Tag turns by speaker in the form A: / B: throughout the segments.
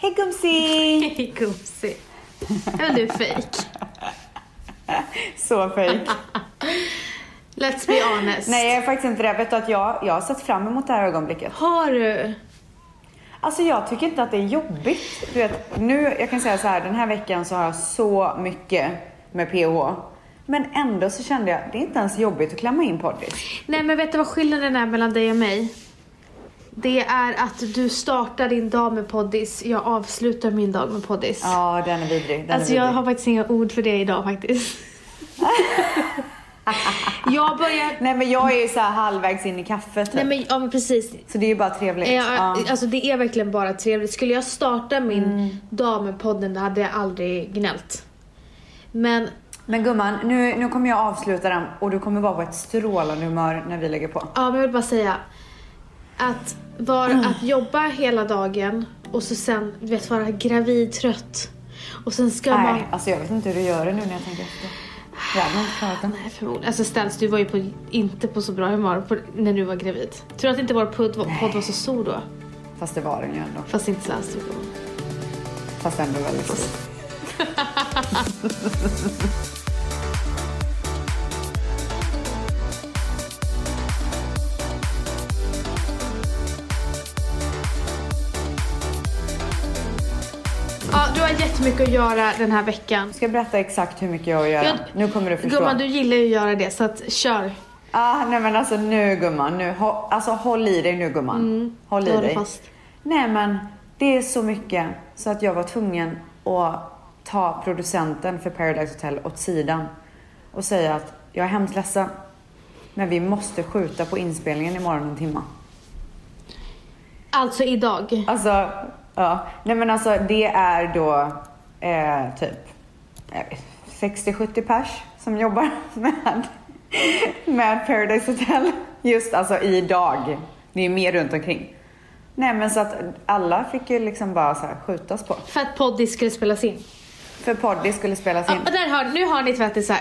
A: Hej gumsi!
B: Hej gumsi. Men du är fejk.
A: Så fejk.
B: Let's be honest.
A: Nej, jag är faktiskt inte det. Vet du att jag, jag har sett fram emot det här ögonblicket.
B: Har du?
A: Alltså jag tycker inte att det är jobbigt. Du vet, nu, jag kan säga så här, den här veckan så har jag så mycket med PH. Men ändå så kände jag, det är inte ens jobbigt att klämma in poddis.
B: Nej men vet du vad skillnaden är mellan dig och mig? Det är att du startar din dag med poddis, jag avslutar min dag med poddis.
A: Ja, den är vidrig. Den
B: alltså
A: är
B: jag
A: vidrig.
B: har faktiskt inga ord för det idag faktiskt. jag börjar...
A: Nej men jag är ju så här halvvägs in i kaffet. typ.
B: Nej men, ja, men precis.
A: Så det är ju bara trevligt.
B: Ja,
A: Ja.
B: Alltså det är verkligen bara trevligt. Skulle jag starta min
A: Mm.
B: dag med podden då hade jag aldrig gnällt. Men
A: Men gumman, nu, nu kommer jag avsluta den och du kommer vara på ett strålande humör när vi lägger på.
B: Ja, men jag vill bara säga att, var,
A: Mm.
B: att jobba hela dagen och så sen, du vet, vara gravid, trött. Och sen ska man...
A: Nej, alltså jag vet inte hur du gör det nu när jag tänker efter. Jag hade inte klarat den.
B: Nej, förmodligen. Alltså Stens, du var ju på, inte på så bra humör på, när du var gravid. Tror att inte vår podd, var- podd var så stor då?
A: Fast det var den ju ändå.
B: Fast inte Stens. tror jag.
A: Fast ändå väldigt stor.
B: Ja, du har jättemycket att göra den här veckan.
A: Jag ska berätta exakt hur mycket jag har att göra.
B: Jag-
A: nu kommer du förstå.
B: Gumman, du gillar ju att göra det, så att kör.
A: Ah, nej men alltså nu gumman. Nu, hå- alltså håll i dig nu gumman. håll
B: Mm, då
A: i
B: håller
A: dig.
B: fast.
A: Nej men det är så mycket så att jag var tvungen att ta producenten för Paradise Hotel åt sidan och säga att jag är hemskt ledsen. Men vi måste skjuta på inspelningen imorgon en timma.
B: Alltså idag.
A: Alltså, ja. Nej men alltså det är då eh, typ jag vet, 60-70 pers som jobbar med, med Paradise Hotel. Just alltså idag. Det är mer runt omkring. Nej men så att alla fick ju liksom bara så här skjutas på.
B: För att poddis skulle spelas in.
A: För Poddy skulle spelas
B: Ja,
A: in.
B: och där har, nu har ni tvättisar.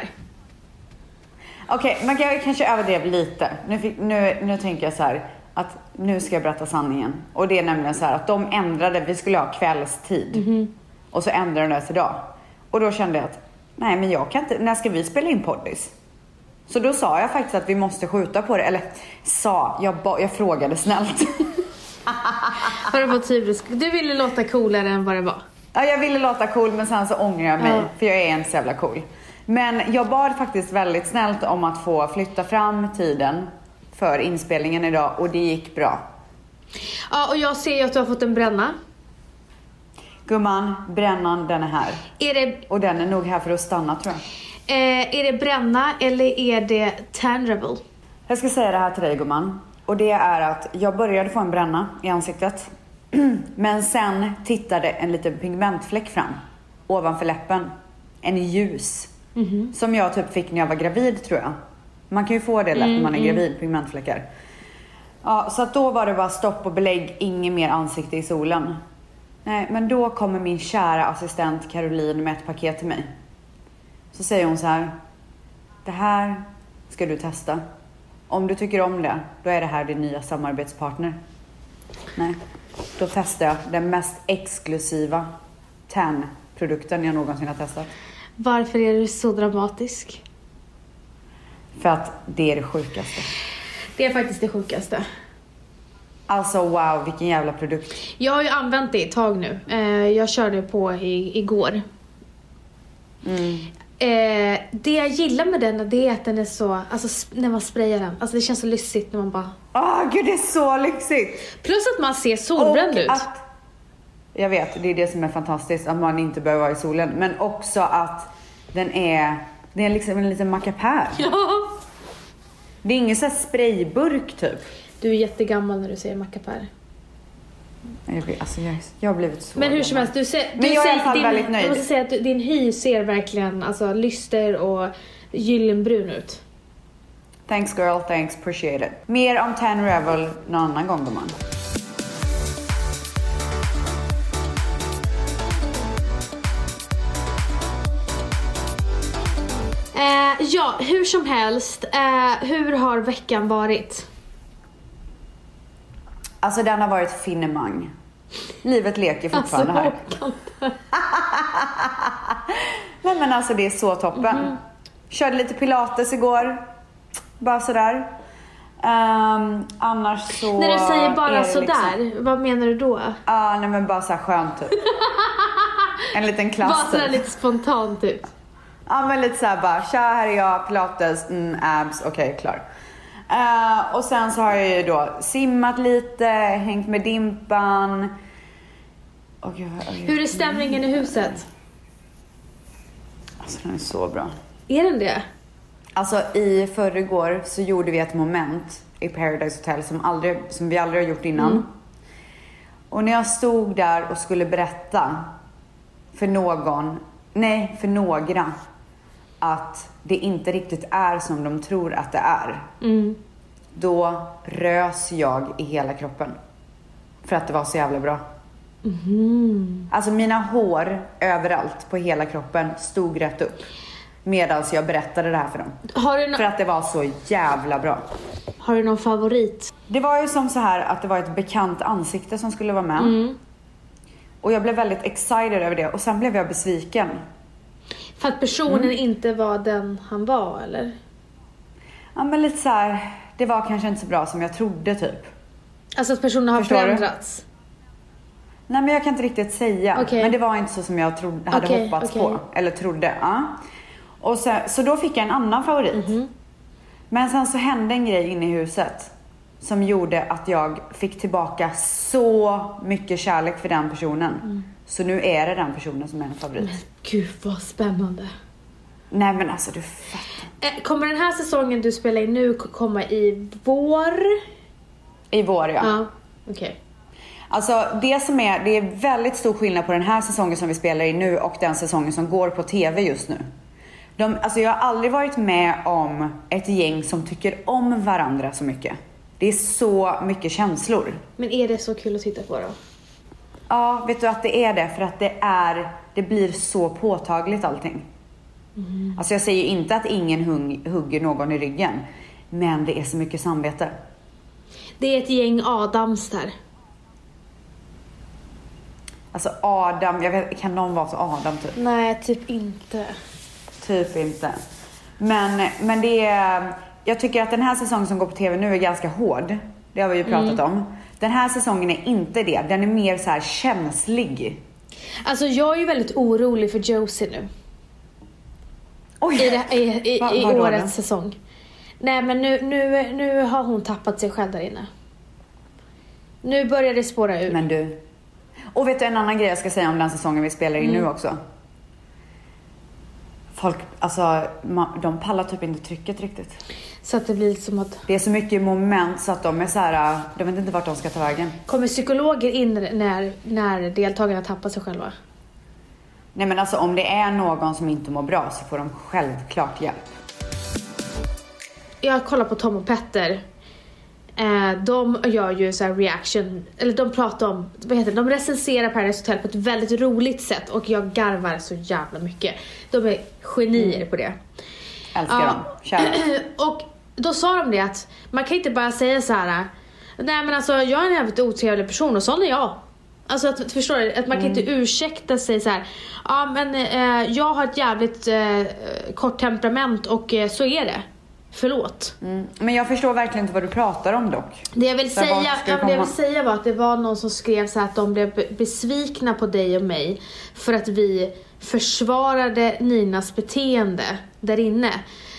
A: Okej, man kan, jag kanske överdrev lite. Nu, fick, nu, nu tänker jag så här att nu ska jag berätta sanningen. Och det är nämligen så här att de ändrade, vi skulle ha kvällstid. Och så ändrade de det till idag. Och då kände jag att, nej men jag kan inte, när ska vi spela in poddis? Så då sa jag faktiskt att vi måste skjuta på det, eller sa, jag, ba, jag frågade snällt.
B: Har du fått hybris? Du ville låta coolare än vad det var.
A: Ja, jag ville låta cool men sen så ångrar jag mig
B: Ja.
A: för jag är inte så jävla cool. Men jag bad faktiskt väldigt snällt om att få flytta fram tiden för inspelningen idag och det gick bra.
B: Ja, och jag ser ju att du har fått en bränna.
A: Gumman, brännan den är här.
B: Är det,
A: Och den är nog här för att stanna tror jag.
B: eh, är det bränna eller är det tangible?
A: Jag ska säga det här till dig gumman. Och det är att jag började få en bränna i ansiktet. Men sen tittade en liten pigmentfläck fram. Ovanför läppen. En ljus. Som jag typ fick när jag var gravid tror jag. Man kan ju få det lätt när man är gravid, pigmentfläckar. Ja, så att då var det bara stopp och belägg, inget mer ansikte i solen. Nej, men då kommer min kära assistent Caroline med ett paket till mig. Så säger hon så här. Det här ska du testa. Om du tycker om det, då är det här din nya samarbetspartner. Nej, då testar jag den mest exklusiva tan-produkten jag någonsin har testat.
B: Varför är du så dramatisk?
A: För att det är det sjukaste.
B: Det är faktiskt det sjukaste.
A: Alltså wow, vilken jävla produkt.
B: Jag har ju använt det ett tag nu. Eh, jag körde på i, igår. Mm. Eh, det jag gillar med den det är att den är så, alltså sp- när man sprayar den, alltså det känns så lyxigt när man bara...
A: Åh gud, det är så lyxigt!
B: Plus att man ser solbränd ut.
A: att... Jag vet, det är det som är fantastiskt, att man inte behöver vara i solen. Men också att den är, det är liksom en liten mackapär.
B: Ja.
A: Det är ingen sån här sprayburk typ.
B: Du är jättegammal när du säger mackapär.
A: Jag blir- Alltså jag, jag har blivit så
B: Men hur
A: gammal.
B: som helst, du ser,
A: Men
B: du
A: jag är i alla
B: ser
A: fall
B: din,
A: väldigt nöjd.
B: Jag måste säga att du, din hy ser verkligen alltså, lyster och gyllenbrun ut.
A: Thanks girl, thanks, appreciate it. Mer om Tan Revel någon annan gång gumman.
B: Eh, ja, hur som helst, eh, hur har veckan varit?
A: Alltså den har varit finemang. Livet leker
B: Alltså,
A: fortfarande här.
B: Håkan.
A: Nej men alltså det är så toppen.
B: Mhm.
A: Körde lite pilates igår. Bara sådär. Ehm, annars så...
B: När du säger
A: är
B: bara
A: det liksom-
B: sådär, vad menar du då?
A: Ja, nej men bara såhär skönt typ. En liten
B: Bara
A: klass
B: sådär
A: typ.
B: lite spontant typ.
A: Ja men lite såhär bara, tja här är jag, pilates, mm, abs, okej klar. Eh, och sen så har jag ju då simmat lite, hängt med Dimpan. Åh gud, vad- åh, gud.
B: Hur är stämningen i huset?
A: Alltså den är så bra.
B: Är den det?
A: Alltså i förrgår så gjorde vi ett moment i Paradise Hotel som, aldrig, som vi aldrig har gjort innan. Och när jag stod där och skulle berätta för någon, nej för några, att det inte riktigt är som de tror att det är.
B: Mm.
A: Då rös jag i hela kroppen. För att det var så jävla bra. Alltså mina hår överallt på hela kroppen stod rätt upp. Medan jag berättade det här för dem.
B: Har, du
A: För
B: no-
A: att det var så jävla bra.
B: har du någon favorit?
A: Det var ju som så här att det var ett bekant ansikte som skulle vara med. Och jag blev väldigt excited över det och sen blev jag besviken.
B: För att personen
A: Mm.
B: inte var den han var eller?
A: Ja men lite så här, det var kanske inte så bra som jag trodde typ.
B: Alltså att personen har
A: Förstår du?
B: förändrats?
A: Nej men jag kan inte riktigt säga.
B: Okej.
A: Men det var inte så som jag trodde, hade
B: Okej,
A: hoppats
B: okej.
A: på. Eller trodde. Ja. Och sen, så då fick jag en annan favorit.
B: Mhm.
A: Men sen så hände en grej inne i huset. Som gjorde att jag fick tillbaka så mycket kärlek för den personen.
B: Mm.
A: Så nu är det den personen som är en favorit.
B: Men gud vad spännande.
A: Nej men alltså du fattar.
B: Eh, Kommer den här säsongen du spelar in nu k- komma i vår?
A: I vår ja.
B: Ja. Okej.
A: Alltså det som är, det är väldigt stor skillnad på den här säsongen som vi spelar i nu och den säsongen som går på TV just nu. De, alltså jag har aldrig varit med om ett gäng som tycker om varandra så mycket. Det är så mycket känslor.
B: Men är det så kul att titta på då?
A: Ja, vet du att det är det? För att det är, det blir så påtagligt allting. Alltså jag säger inte att ingen hung, hugger någon i ryggen. Men det är så mycket samvete.
B: Det är ett gäng Adams där.
A: Alltså Adam, jag vet, kan någon vara så Adam typ?
B: Nej, typ inte.
A: Typ inte. Men, men det är... Jag tycker att den här säsongen som går på TV nu är ganska hård. Det har vi
B: Mm.
A: ju pratat om. Den här säsongen är inte det. Den är mer så här känslig.
B: Alltså jag är ju väldigt orolig för Josie nu.
A: Oj!
B: I, det, i, i,
A: Va-
B: i
A: vadå då?
B: årets säsong. Nej men nu, nu, nu har hon tappat sig själv där inne. Nu börjar det spåra ur.
A: Men du. Och vet du en annan grej jag ska säga om den säsongen vi spelar in
B: Mm.
A: nu också? Folk, alltså ma- de pallar typ inte trycket riktigt.
B: Så att det blir som att...
A: Det är så mycket moment så att de är så här, de vet inte vart de ska ta vägen.
B: Kommer psykologer in när, när deltagarna tappar sig själva?
A: Nej men alltså om det är någon som inte mår bra så får de självklart hjälp.
B: Jag kollar på Tom och Petter. Eh, de gör ju så här reaction, eller de pratar om, vad heter det, de recenserar Paradise Hotel på ett väldigt roligt sätt och jag garvar så jävla mycket. De är genier på det.
A: Älskar
B: Ja.
A: dem. Kärlek.
B: Och då sa de det att man kan inte bara säga så här. Nej men alltså jag är en jävligt otrevlig person och sån är jag. Alltså att, förstår du? Att man kan inte ursäkta sig så här. Ja men eh, jag har ett jävligt eh, kort temperament och eh, så är det. Förlåt.
A: Mm. Men jag förstår verkligen inte vad du pratar om dock.
B: Det jag, vill
A: Så här,
B: säga,
A: vart ska
B: ja,
A: vi
B: men det jag
A: komma?
B: vill säga var att det var någon som skrev så här att de blev be- besvikna på dig och mig för att vi försvarade Ninas beteende där inne.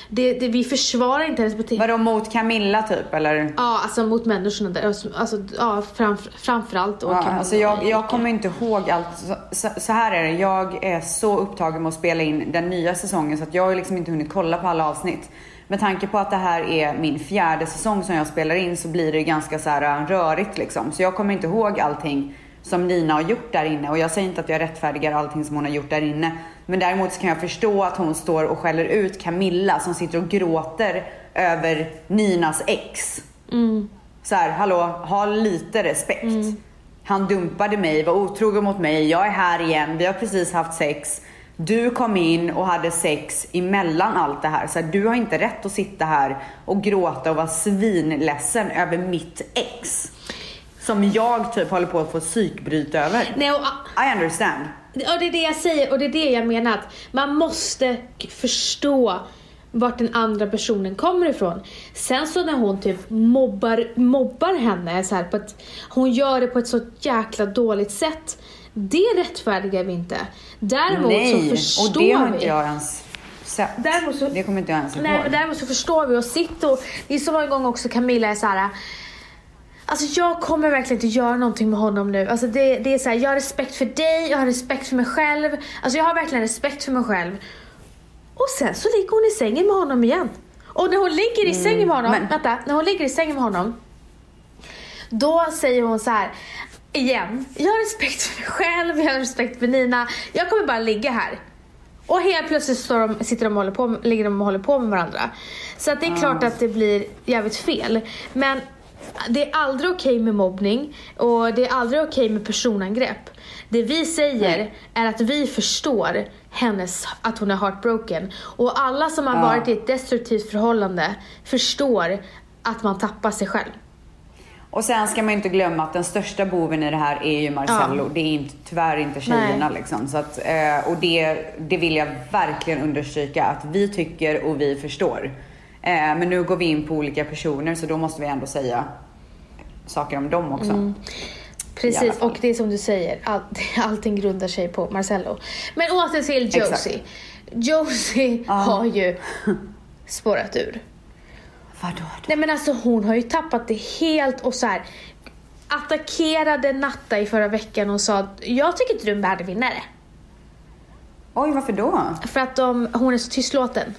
B: Det, det, vi försvarar inte hennes beteende.
A: Vadå mot Camilla typ eller?
B: Ja, alltså mot människorna där. Alltså, ja, framför, framförallt. Och
A: Ja,
B: Camilla
A: alltså
B: och
A: jag,
B: Erika.
A: jag kommer inte ihåg allt. Så- Så, så här är det, jag är så upptagen med att spela in den nya säsongen så att jag har liksom inte hunnit kolla på alla avsnitt. Med tanke på att det här är min fjärde säsong som jag spelar in så blir det ganska så här äh, rörigt liksom. Så jag kommer inte ihåg allting som Nina har gjort där inne och jag säger inte att jag rättfärdigar allting som hon har gjort där inne. Men däremot så kan jag förstå att hon står och skäller ut Camilla som sitter och gråter över Ninas ex. Så här, hallå, ha lite respekt.
B: Mm.
A: Han dumpade mig, var otrogen mot mig, jag är här igen, vi har precis haft sex. Du kom in och hade sex emellan allt det här. Så här, du har inte rätt att sitta här och gråta och vara svinledsen över mitt ex. Som jag typ håller på att få psykbryt över.
B: Nej, och,
A: I understand.
B: och det är det jag säger och det är det jag menar att man måste k- förstå vart den andra personen kommer ifrån. Sen så när hon typ mobbar, mobbar henne, så här på ett, hon gör det på ett så jäkla dåligt sätt. Det rättfärdigar vi inte. Däremot
A: Nej,
B: så förstår
A: och det har
B: vi.
A: inte jag ens sett.
B: Däremot så-
A: Det kommer inte jag ens ihåg.
B: Nej men däremot så förstår vi och sitter och det är så många gånger också Camilla är så här. Alltså jag kommer verkligen inte göra någonting med honom nu. Alltså det, det är så här, jag har respekt för dig, jag har respekt för mig själv. Alltså jag har verkligen respekt för mig själv. Och sen så ligger hon i sängen med honom igen. Och när hon ligger i sängen med honom,
A: Mm, men-
B: vänta, när hon ligger i sängen med honom. Då säger hon så här igen. Jag har respekt för mig själv, jag har respekt för Nina. Jag kommer bara ligga här. Och helt plötsligt står de, sitter de och håller på, ligger de och håller på med varandra. Så att det är klart att det blir jävligt fel. Men det är aldrig okej med mobbning och det är aldrig okej med personangrepp. Det vi säger är att vi förstår hennes, att hon är heartbroken. Och alla som har
A: Ja.
B: varit i ett destruktivt förhållande förstår att man tappar sig själv.
A: Och sen ska man inte glömma att den största boven i det här är ju Marcello.
B: Ja.
A: Det är inte, tyvärr inte tjejerna liksom. Så att, eh, och det, det vill jag verkligen understryka att vi tycker och vi förstår. Eh, men nu går vi in på olika personer så då måste vi ändå säga saker om dem också.
B: Mm.
A: I alla
B: Precis,
A: fall.
B: och det är som du säger, all, allting grundar sig på Marcello. Men åter till Josie.
A: Exakt.
B: Josie har ju spårat ur.
A: Vadå då?
B: Nej men alltså hon har ju tappat det helt och så här attackerade Natta i förra veckan och sa att jag tycker inte du är en värdig vinnare.
A: Oj, varför då?
B: För att de, hon är så tystlåten.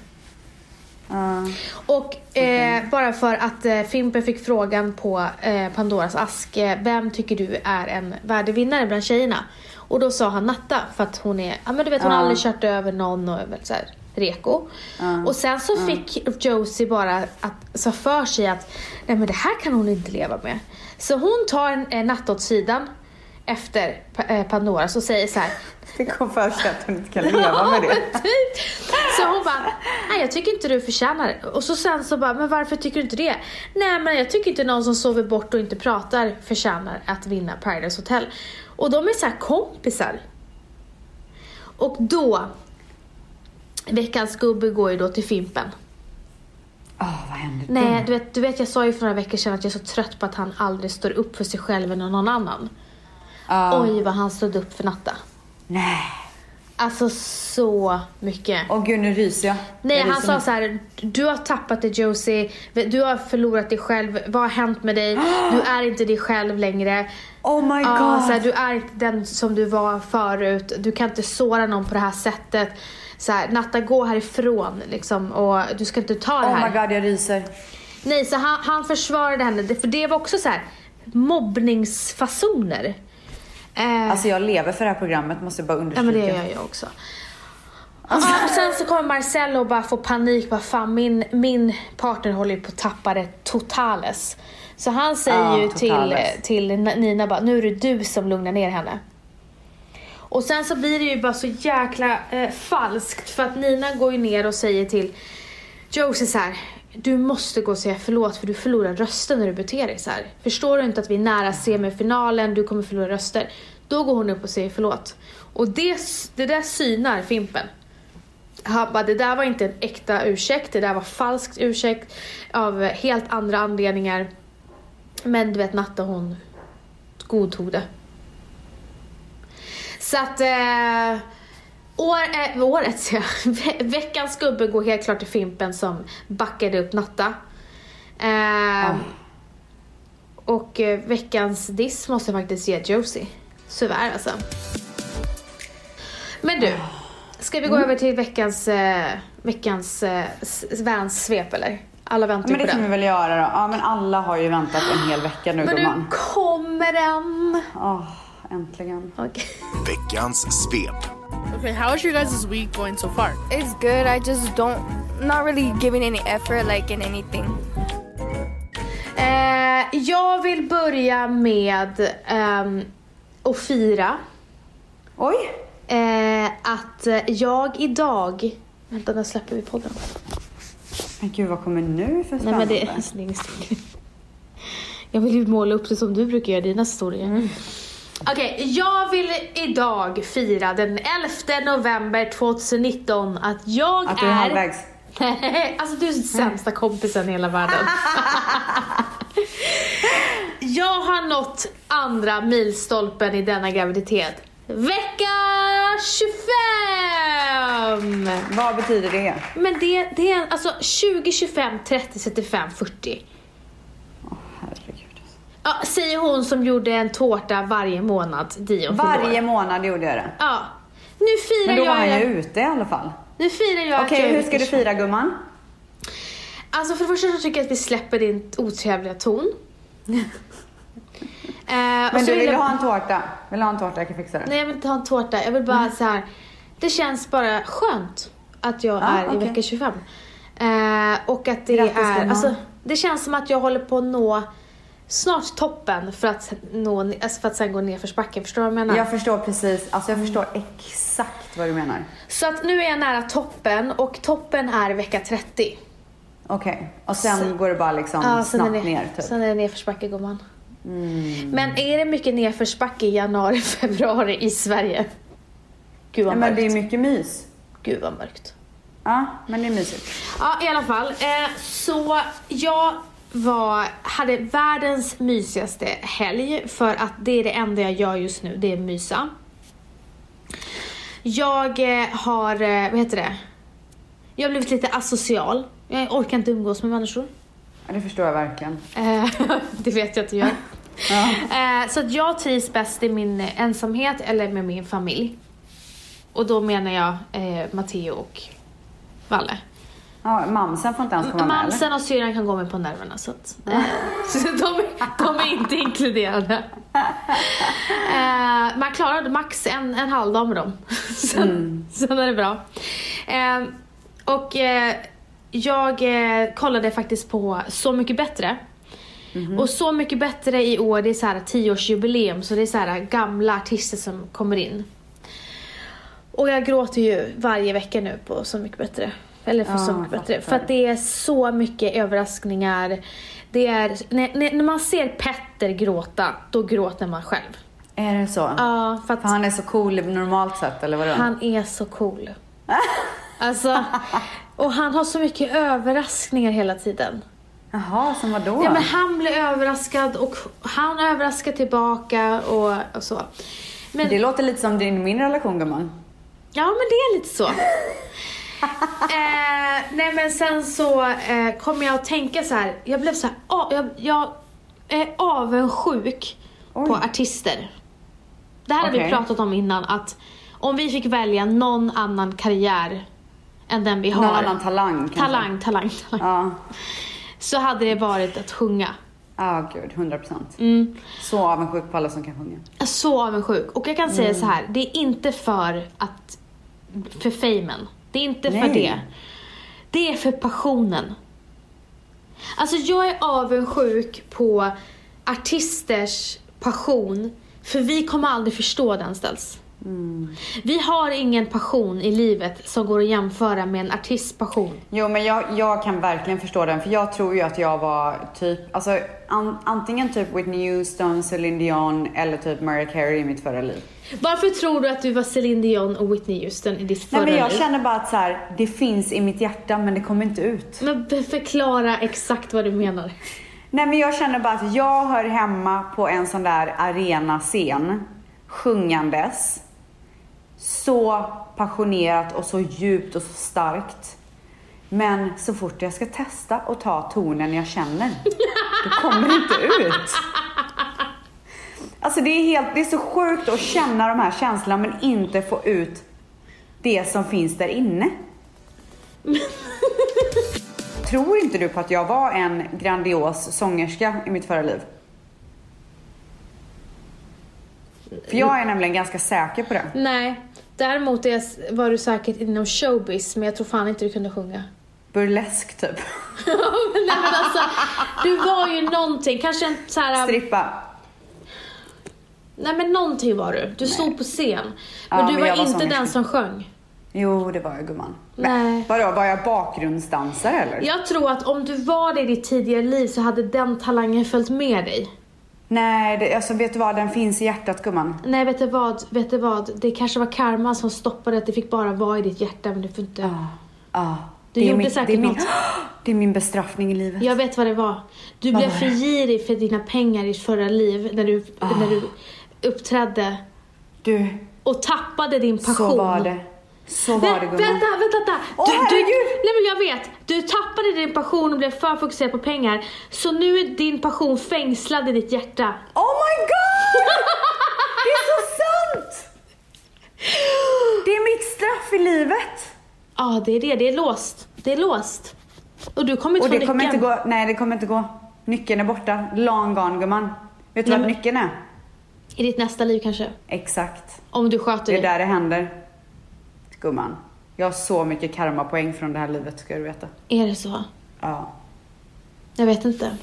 A: Eh,
B: Och eh, bara för att eh, Fimpen fick frågan på eh, Pandoras ask, eh, vem tycker du är en värdig vinnare bland tjejerna? Och då sa han Natta för att hon är, ja men du vet hon har
A: Ja.
B: aldrig kört över någon och är väl så här, reko.
A: Ja.
B: Och sen så fick Josie bara att, så för sig att nej men det här kan hon inte leva med. Så hon tar en, eh, Natta åt sidan efter pa- eh, Pandoras och säger så här
A: fick hon för sig att hon inte kan leva med
B: Ja,
A: det.
B: men typ. Så hon bara, nej jag tycker inte du förtjänar det. Och så sen så bara, men varför tycker du inte det? Nej men jag tycker inte någon som sover bort och inte pratar förtjänar att vinna Paradise Hotel. Och de är så här kompisar. Och då, veckans gubbe går ju då till Fimpen.
A: Åh, vad hände då?
B: Nej, du vet, du vet jag sa ju för några veckor sedan att jag är så trött på att han aldrig står upp för sig själv eller någon annan.
A: Ja.
B: Oj vad han stod upp för Natta.
A: Nej.
B: Alltså så mycket.
A: Åh gud, nu ryser jag.
B: Nej,
A: jag
B: han
A: ryser
B: sa
A: nu.
B: så här: du har tappat dig Josie, du har förlorat dig själv, vad har hänt med dig? Du är inte dig själv längre.
A: Oh my
B: Ja,
A: god.
B: så här, du är inte den som du var förut, du kan inte såra någon på det här sättet. Så här, Natta, gå härifrån liksom, och du ska inte ta det
A: oh
B: här.
A: my god, jag ryser.
B: Nej, så han, han försvarade henne, Det- för det var också så här mobbningsfasoner. Eh,
A: Alltså jag lever för det här programmet, måste jag bara
B: Ja
A: understryka.
B: men det gör jag också. Ja, Alltså, och sen så kommer Marcello och bara få panik. Bara, Fan, min, min partner håller ju på att tappa det totales. Så han säger
A: Ja,
B: ju till,
A: totales.
B: till Nina bara, nu är det du som lugnar ner henne. Och sen så blir det ju bara så jäkla eh, falskt för att Nina går ju ner och säger till Josie så här. Du måste gå och säga förlåt för du förlorar rösten när du beter dig så här. Förstår du inte att vi är nära semifinalen, du kommer förlora röster. Då går hon upp och säger förlåt. Och det, det där synar Fimpen. Han bara, det där var inte en äkta ursäkt, det där var falskt ursäkt av helt andra anledningar. Men du vet Natta hon godtog det. Så att eh, år, eh, året säger jag, Ve- veckans gubbe går helt klart till Fimpen som backade upp Natta. Eh,
A: Ah.
B: Och eh, veckans diss måste jag faktiskt ge Josie. Tyvärr alltså. Men du, ska vi gå
A: Mm.
B: över till veckans, eh, veckans eh, s- vänsvep eller? Alla väntar ju
A: Men
B: på
A: det kan vi
B: den.
A: väl göra då. Ja men alla har ju väntat en hel vecka nu
B: Men nu
A: gumman.
B: kommer den!
A: Åh, äntligen.
B: Okej.
C: Veckans svep.
D: Okay, how is your guys' week going so far?
E: It's good. I just don't, not really giving any effort, like in anything.
B: Eh, jag vill börja med ehm, att fira
A: Oj!
B: eh, att eh, jag idag... Vänta, när släpper vi podden?
A: Men gud vad kommer nu för
B: Nej
A: spännande?
B: men det är sling, sling. Jag vill ju måla upp det som du brukar göra i dina historier. Mm. Okej, jag vill idag fira den 11 november 2019 att jag
A: Att
B: är...
A: du är halvvägs.
B: Nej, alltså du är den sämsta kompisen i hela världen. jag har nått andra milstolpen i denna graviditet. Vecka 25!
A: Vad betyder det?
B: Men det, det är alltså 20, 25, 30, 35, 40.
A: Herregud.
B: Ja, säger hon som gjorde en tårta varje månad, Dion fyllde år.
A: Varje månad gjorde jag det.
B: Ja. Nu firar
A: Men då var han
B: jag...
A: ju ute i alla fall.
B: Nu firar jag att
A: Okej,
B: jag är
A: hur ska du
B: lite-
A: fira gumman?
B: Alltså för det första så tycker jag att vi släpper din otrevliga ton. Eh, och
A: Men
B: så
A: du, vill
B: jag...
A: du ha en tårta? Vill du ha en tårta? Jag kan fixa det.
B: Nej jag vill inte ha en tårta, jag vill bara
A: Mm.
B: så här. Det känns bara skönt att jag
A: Ah,
B: är i
A: okej.
B: vecka 25. Eh, och att det
A: Grattis,
B: är,
A: gumman.
B: alltså, det känns som att jag håller på att nå snart toppen för att, nå, alltså för att sen gå ner för backen. Förstår du vad jag menar?
A: Jag förstår precis, alltså jag förstår exakt vad du menar.
B: Så att nu är jag nära toppen och toppen är vecka 30.
A: Okej, och sen
B: Så-
A: går det bara liksom
B: Ja, sen är
A: snabbt
B: det,
A: ner typ. Mm.
B: Sen är det nedförsbacke gumman. Men är det mycket nedförsbacke i januari, februari i Sverige? Gud
A: Nej,
B: vad
A: men
B: mörkt.
A: det är mycket mys.
B: Gud vad mörkt.
A: Ja, men det är mysigt.
B: Ja i alla fall. Eh, så jag var, hade världens mysigaste helg för att det är det enda jag gör just nu, det är mysa. Jag eh, har, eh, vad heter det? Jag har blivit lite asocial. Jag orkar inte umgås med människor.
A: Ja, det förstår jag verkligen.
B: Eh, det vet jag att du gör.
A: Ja.
B: Eh, Så att jag trivs bäst i min ensamhet eller med min familj. Och då menar jag eh, Matteo och Valle.
A: Ja, mamsen får inte ens komma med eller?
B: Mamsen och syrran kan gå mig på nerverna så att eh, så de, de är inte inkluderade. Eh, man klarar max en, en halv dag med dem. sen,
A: Mm.
B: sen är det bra. Eh, och eh, jag eh, kollade faktiskt på Så mycket bättre.
A: Mm.
B: Och Så mycket bättre i år, det är så här 10-årsjubileum så det är så här gamla artister som kommer in. Och jag gråter ju varje vecka nu på Så mycket bättre. Eller för
A: Ja,
B: Så mycket
A: jag
B: bättre.
A: fattar.
B: För att det är så mycket överraskningar. Det är, när, när när man ser Petter gråta, då gråter man själv.
A: Är det så?
B: Ja, för att
A: För han är så cool normalt sett eller vadå?
B: han är så cool. Alltså, och han har så mycket överraskningar hela tiden.
A: Jaha, som vadå?
B: Ja, men han blir överraskad och han överraskar tillbaka och, och så. Men
A: Det låter lite som din min relation gumman.
B: Ja, men det är lite så. eh, nej, men sen så eh, kom jag att tänka så här. Jag blev så här, ah, jag, jag är avundsjuk
A: Oj.
B: på artister. Det här har vi
A: Okej.
B: pratat om innan, att om vi fick välja någon annan karriär än den vi har.
A: Någon annan talang kanske?
B: Talang, talang, talang.
A: Ja,
B: Så hade det varit att sjunga.
A: ah, gud, 100 procent.
B: Mm.
A: Så avundsjuk på alla som kan sjunga.
B: Jag är så avundsjuk. Och jag kan
A: Mm.
B: säga så här, det är inte för att för famen. Det är inte för
A: Nej.
B: det. Det är för passionen. Alltså jag är avundsjuk på artisters passion. För vi kommer aldrig förstå den ställs.
A: Mm.
B: Vi har ingen passion i livet som går att jämföra med en artists passion.
A: Jo men jag, jag kan verkligen förstå den för jag tror ju att jag var typ, alltså an, antingen typ Whitney Houston, Celine Dion eller typ Mariah Carey i mitt förra liv.
B: Varför tror du att du var Celine Dion och Whitney Houston i ditt förra
A: Nej men jag
B: liv?
A: känner bara att så här, det finns i mitt hjärta men det kommer inte ut.
B: Men be- förklara exakt vad du menar.
A: Nej men jag känner bara att jag hör hemma på en sån där arenascen sjungandes. Så passionerat och så djupt och så starkt. Men så fort jag ska testa och ta tonen jag känner, då kommer det inte ut. Alltså det är, helt, det är så sjukt att känna de här känslorna men inte få ut det som finns där inne. Tror inte du på att jag var en grandios sångerska i mitt förra liv? För jag är nämligen ganska säker på det.
B: Nej, däremot är, var du säkert inom showbiz men jag tror fan inte du kunde sjunga.
A: Burlesk typ.
B: Nej, men alltså, du var ju någonting, kanske en så här,
A: Strippa.
B: Nej men någonting var du. Du stod på scen. Men
A: Ja,
B: du
A: men
B: var,
A: jag var
B: inte
A: sångerska.
B: den som sjöng.
A: Jo, det var jag gumman.
B: Nej.
A: Vadå, var jag bakgrundsdansare eller?
B: Jag tror att om du var det i ditt tidigare liv så hade den talangen följt med dig.
A: Nej, det, alltså vet du vad? Den finns i hjärtat gumman.
B: Nej, vet du vad? Vet du vad? Det kanske var karma som stoppade att det fick bara vara i ditt hjärta men du får inte...
A: Ja. ja.
B: Du
A: det är
B: gjorde
A: mitt-
B: säkert
A: det är min,
B: något.
A: Det är min bestraffning i livet.
B: Jag vet vad det var. Du blev
A: var
B: för
A: det? Ah.
B: girig för dina pengar i ditt förra liv när du, när du uppträdde
A: Du,
B: och tappade din passion.
A: så var det. Så var
B: Nej,
A: det
B: vänta,
A: gumman.
B: vänta, vänta!
A: Åh, herregud!
B: nej men jag vet! Du tappade din passion och blev för fokuserad på pengar. Så nu är din passion fängslad i ditt hjärta.
A: Oh my god! Det är så sant! Det är mitt straff i livet.
B: Ja, ah, det är det. Det är låst. Det är låst. Och du kommer inte
A: Och
B: få
A: det kommer inte
B: nyckeln.
A: gå. Nej, det kommer inte gå. Nyckeln är borta. Long gone gumman. Vet du vad
B: Nej, men-
A: nyckeln är?
B: I ditt nästa liv kanske.
A: Exakt.
B: Om du sköter
A: Det
B: dig.
A: är där det händer. Gumman. Jag har så mycket karmapoäng från det här livet ska du veta.
B: Är det så?
A: Ja.
B: Jag vet inte.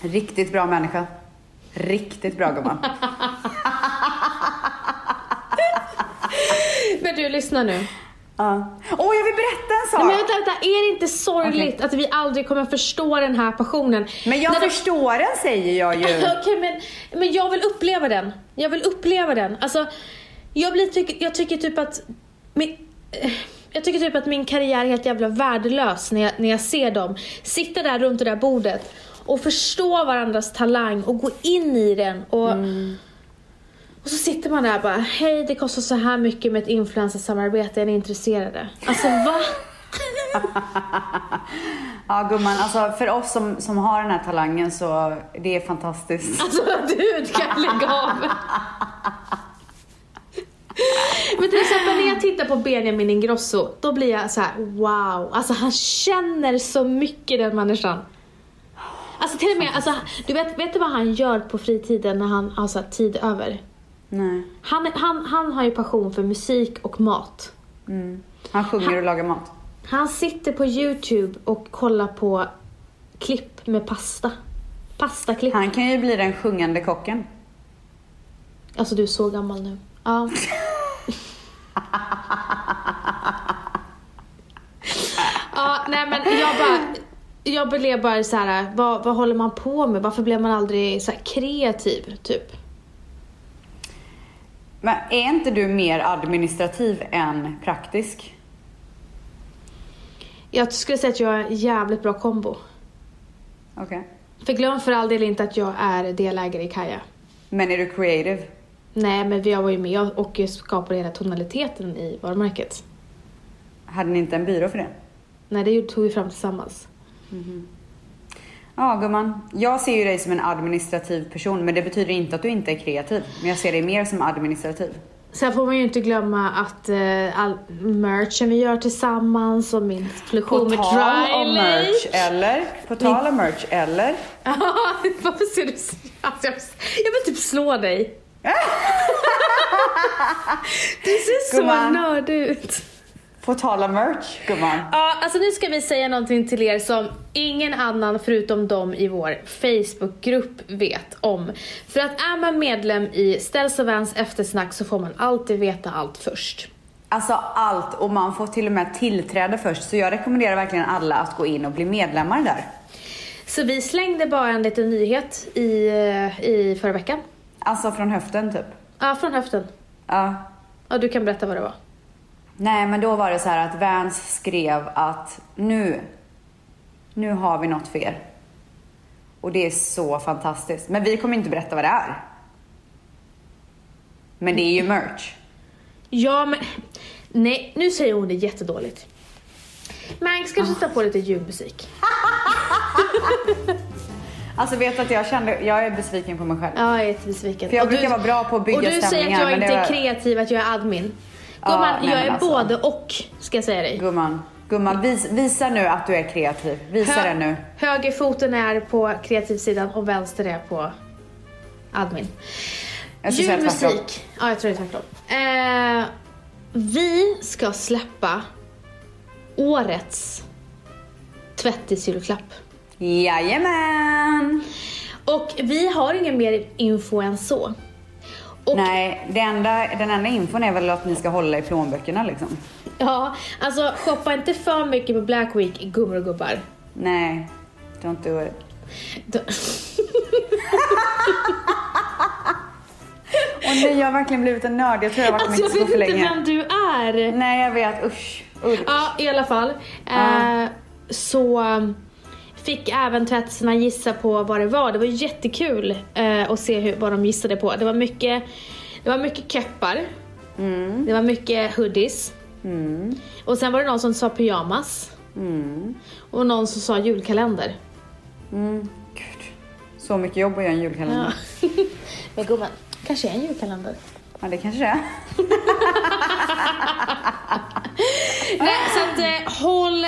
A: Riktigt bra människa. Riktigt bra gumman.
B: Men du, lyssna nu.
A: Ja. Åh, jag vill berätta en sak!
B: Nej, men vänta, vänta. Är det inte sorgligt att vi aldrig kommer förstå den här passionen?
A: Men jag
B: När du-
A: förstår den säger jag ju.
B: Okej, men, men jag vill uppleva den. Jag vill uppleva den. Alltså, jag, blir, tyck, jag tycker typ att... Min, eh, jag tycker typ att min karriär är helt jävla värdelös när jag, när jag ser dem. Sitta där runt det där bordet och förstå varandras talang och gå in i den. Och,
A: Mm.
B: och så sitter man där och bara, hej det kostar så här mycket med ett influencersamarbete, är ni intresserade? Alltså va?
A: Ja gumman, alltså för oss som, som har den här talangen så det är fantastiskt.
B: Alltså du kan lägga av. Men till exempel när jag tittar på Benjamin Ingrosso, då blir jag så här: wow. Alltså han känner så mycket den människan. Alltså till och med, alltså, du vet, vet du vad han gör på fritiden när han har så här, tid över?
A: Nej.
B: Han, han, han har ju passion för musik och mat.
A: Han sjunger och lagar mat.
B: Han sitter på youtube och kollar på klipp med pasta. Pastaklipp.
A: Han kan ju bli den sjungande kocken.
B: Alltså du är så gammal nu. Ja. ja, nej men jag bara... Jag blev bara så här, vad, vad håller man på med? Varför blev man aldrig så här kreativ, typ?
A: Men är inte du mer administrativ än praktisk?
B: Jag skulle säga att jag är en jävligt bra kombo.
A: Okej.
B: För glöm för all del inte att jag är delägare i Kaja.
A: Men är du creative?
B: Nej, men jag var ju med och skapade hela tonaliteten i varumärket.
A: Hade ni inte en byrå för det?
B: Nej, det tog vi fram tillsammans.
A: Ja gumman, jag ser ju dig som en administrativ person men det betyder inte att du inte är kreativ. Men jag ser dig mer som administrativ.
B: Sen får man ju inte glömma att eh, all merchen vi gör tillsammans och min
A: På
B: produktion med
A: tal
B: Dry
A: om merch eller? På tal om merch eller?
B: Lake. Varför ser du så- alltså, jag, jag vill typ slå dig. du ser så
A: Gumman.
B: nördig ut.
A: På tal om merch gumman.
B: Ja, alltså nu ska vi säga någonting till er som ingen annan förutom de i vår Facebookgrupp vet om. För att är man medlem i Ställs och Vans eftersnack så får man alltid veta allt först.
A: Alltså allt och man får till och med tillträde först så jag rekommenderar verkligen alla att gå in och bli medlemmar där.
B: Så vi slängde bara en liten nyhet i, eh, i förra veckan.
A: Alltså från höften typ.
B: Ja, från höften.
A: Ja.
B: Ja, du kan berätta vad det var.
A: Nej men då var det så här att Vans skrev att nu, nu har vi något för er. Och det är så fantastiskt. Men vi kommer inte berätta vad det är. Men det är ju merch.
B: Ja, men... Nej, nu säger hon det jättedåligt. Ah. Man ska sätta på lite ljudmusik.
A: Alltså vet du att jag kände, jag är besviken på mig själv.
B: Ja, jag är jättebesviken.
A: För jag
B: Och
A: brukar vara bra på att bygga
B: Och du säger
A: stämningar,
B: att jag
A: men
B: inte
A: det
B: är
A: var-
B: kreativ, att jag är admin.
A: Ja,
B: Gumman,
A: nej,
B: jag
A: men
B: är
A: alltså.
B: både och, ska jag säga dig.
A: Gumman, gumman vis, visa nu att du är kreativ. Visa det nu.
B: Högerfoten är på kreativsidan och vänster är på admin.
A: Jag ska säga tvärtom.
B: Ljudmusik. Ja, jag tror det är tvärtom. Eh, vi ska släppa årets tvättisjulklapp.
A: Jajamän!
B: Och vi har ingen mer info än så. Och,
A: Nej, det enda, den enda infon är väl att ni ska hålla i plånböckerna liksom.
B: Ja, alltså shoppa inte för mycket på Black Week, gummor och gubbar.
A: Nej, don't do it.
B: Då-
A: Och nu har jag verkligen blivit en nörd. Jag tror jag har varit
B: Alltså jag
A: på
B: vet
A: för
B: inte
A: länge.
B: vem du är.
A: Nej, jag vet. Usch. Usch.
B: Ja, i alla fall. Eh, så um, fick även tvättisarna gissa på vad det var. Det var jättekul eh, att se hur, vad de gissade på. Det var mycket, det var mycket keppar. Det var mycket hoodies. Och sen var det någon som sa pyjamas. Mm. Och någon som sa julkalender.
A: Mm. Gud. Så mycket jobb att göra en julkalender. Ja,
B: Ja. Mm. Men gumman, kanske är en julkalender.
A: det kanske det är.
B: Nej, så att eh, håll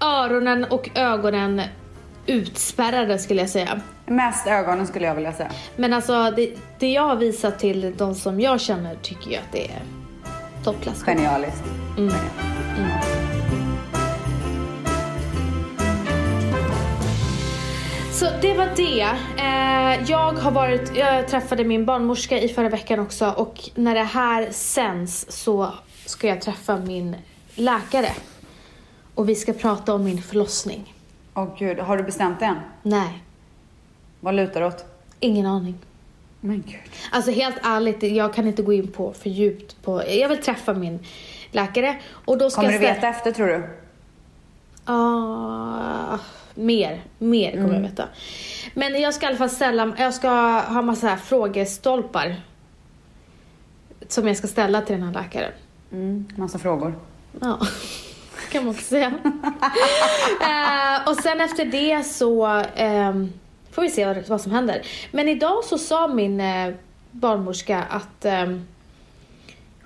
B: öronen och ögonen utspärrade skulle jag säga.
A: Mest ögonen skulle jag vilja säga.
B: Men alltså det, det jag har visat till de som jag känner tycker jag att det är toppklass.
A: Genialiskt.
B: Så det var det. Eh, jag har varit, jag träffade min barnmorska i förra veckan också och när det här sänds så ska jag träffa min läkare. Och vi ska prata om min förlossning.
A: Åh gud, har du bestämt dig än?
B: Nej,
A: Vad lutar det åt?
B: ingen aning.
A: Men gud.
B: Alltså helt ärligt, jag kan inte gå in på för djupt på... Jag vill träffa min läkare och då ska
A: Kommer
B: jag
A: du
B: ställa-
A: veta efter tror du?
B: Ah, mer, mer kommer jag veta. Men jag ska i alla fall ställa, jag ska ha massa här frågestolpar. Som jag ska ställa till den här läkaren.
A: Mm, massa frågor.
B: Ja, kan man också säga. eh, och sen efter det så ehm, får vi se vad, vad som händer. Men idag så sa min eh, barnmorska att ehm,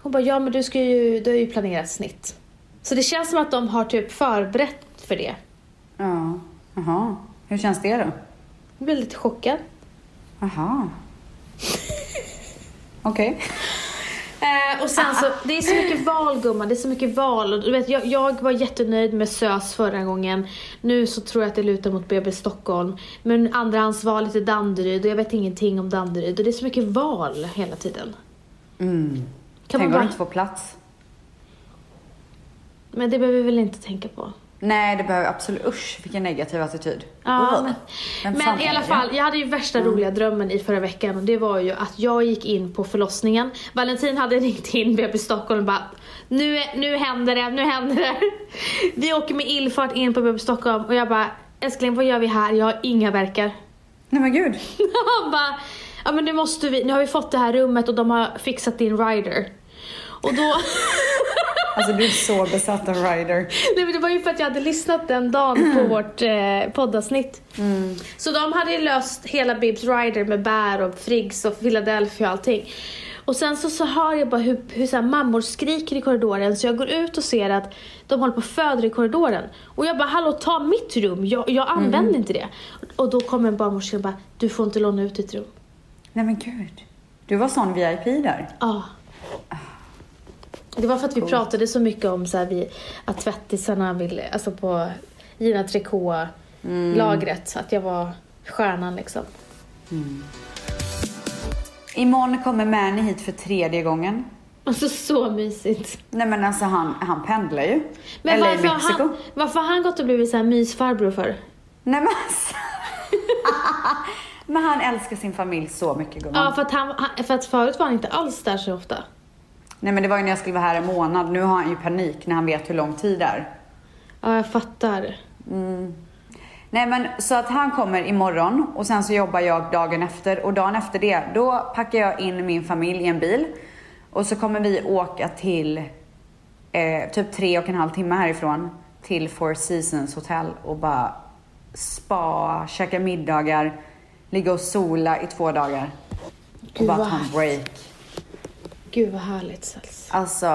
B: hon bara, ja men du ska ju, du har ju planerat snitt. Så det känns som att de har typ förberett för det.
A: Ja. Jaha. Hur känns det då?
B: Jag blev lite chockad.
A: Jaha. Okej.
B: Eh, och sen så, det är så mycket val gumman, det är så mycket val. Och du vet, jag, jag var jättenöjd med SÖS förra gången. Nu så tror jag att det lutar mot BB Stockholm. Men andrahandsvalet är Danderyd och jag vet ingenting om Danderyd. Och det är så mycket val hela tiden. Kan man
A: Tänk om du
B: bara,
A: inte får plats.
B: Men det behöver vi väl inte tänka på.
A: Nej, det behöver absolut... Usch, vilken negativ attityd.
B: Ja,
A: Ugh.
B: men,
A: Vem fan
B: men i
A: är
B: alla
A: det?
B: fall, jag hade ju värsta roliga drömmen i förra veckan och det var ju att jag gick in på förlossningen. Valentin hade ringt in BB Stockholm och bara nu, är- nu händer det, nu händer det. Vi åker med illfart in på BB Stockholm och jag bara älskling vad gör vi här? Jag har inga verkar.
A: Nej men gud.
B: Han bara ja men nu måste vi, nu har vi fått det här rummet och de har fixat din rider. Och då
A: Alltså du är så besatt av Ryder.
B: Nej men det var ju för att jag hade lyssnat den dagen på vårt eh, poddavsnitt. Så de hade ju löst hela Bibs Rider med bär och Friggs och Philadelphia och allting. Och sen så, så hör jag bara hur, hur så här mammor skriker i korridoren så jag går ut och ser att de håller på och föder i korridoren. Och jag bara hallå ta mitt rum, jag, jag använder inte det. Och då kommer en barnmorska och bara du får inte låna ut ditt rum.
A: Nej men gud. Du var sån VIP där.
B: Ja. Det var för att vi pratade så mycket om så här, vi, att tvättisarna ville, alltså på Gina Tricot-lagret,
A: Mm.
B: att jag var stjärnan liksom.
A: Imorgon kommer Mani hit för tredje gången.
B: Alltså så mysigt.
A: Nej men alltså han, han pendlar ju.
B: Men
A: Eller
B: varför,
A: i
B: har
A: Mexiko.
B: han, varför har han gått och blivit så här mysfarbror för?
A: Nej men alltså. men han älskar sin familj så mycket gumman.
B: Ja, för att, han, han- för att förut var han inte alls där så ofta.
A: Nej men det var ju när jag skulle vara här en månad. Nu har han ju panik när han vet hur lång tid det är.
B: Ja, jag fattar.
A: Nej men så att han kommer imorgon och sen så jobbar jag dagen efter och dagen efter det då packar jag in min familj i en bil och så kommer vi åka till eh, typ tre och en halv timme härifrån till Four Seasons hotell och bara spa, käka middagar, ligga och sola i två dagar och
B: Gud
A: bara
B: vad,
A: ta en break.
B: gud vad härligt Sals.
A: Alltså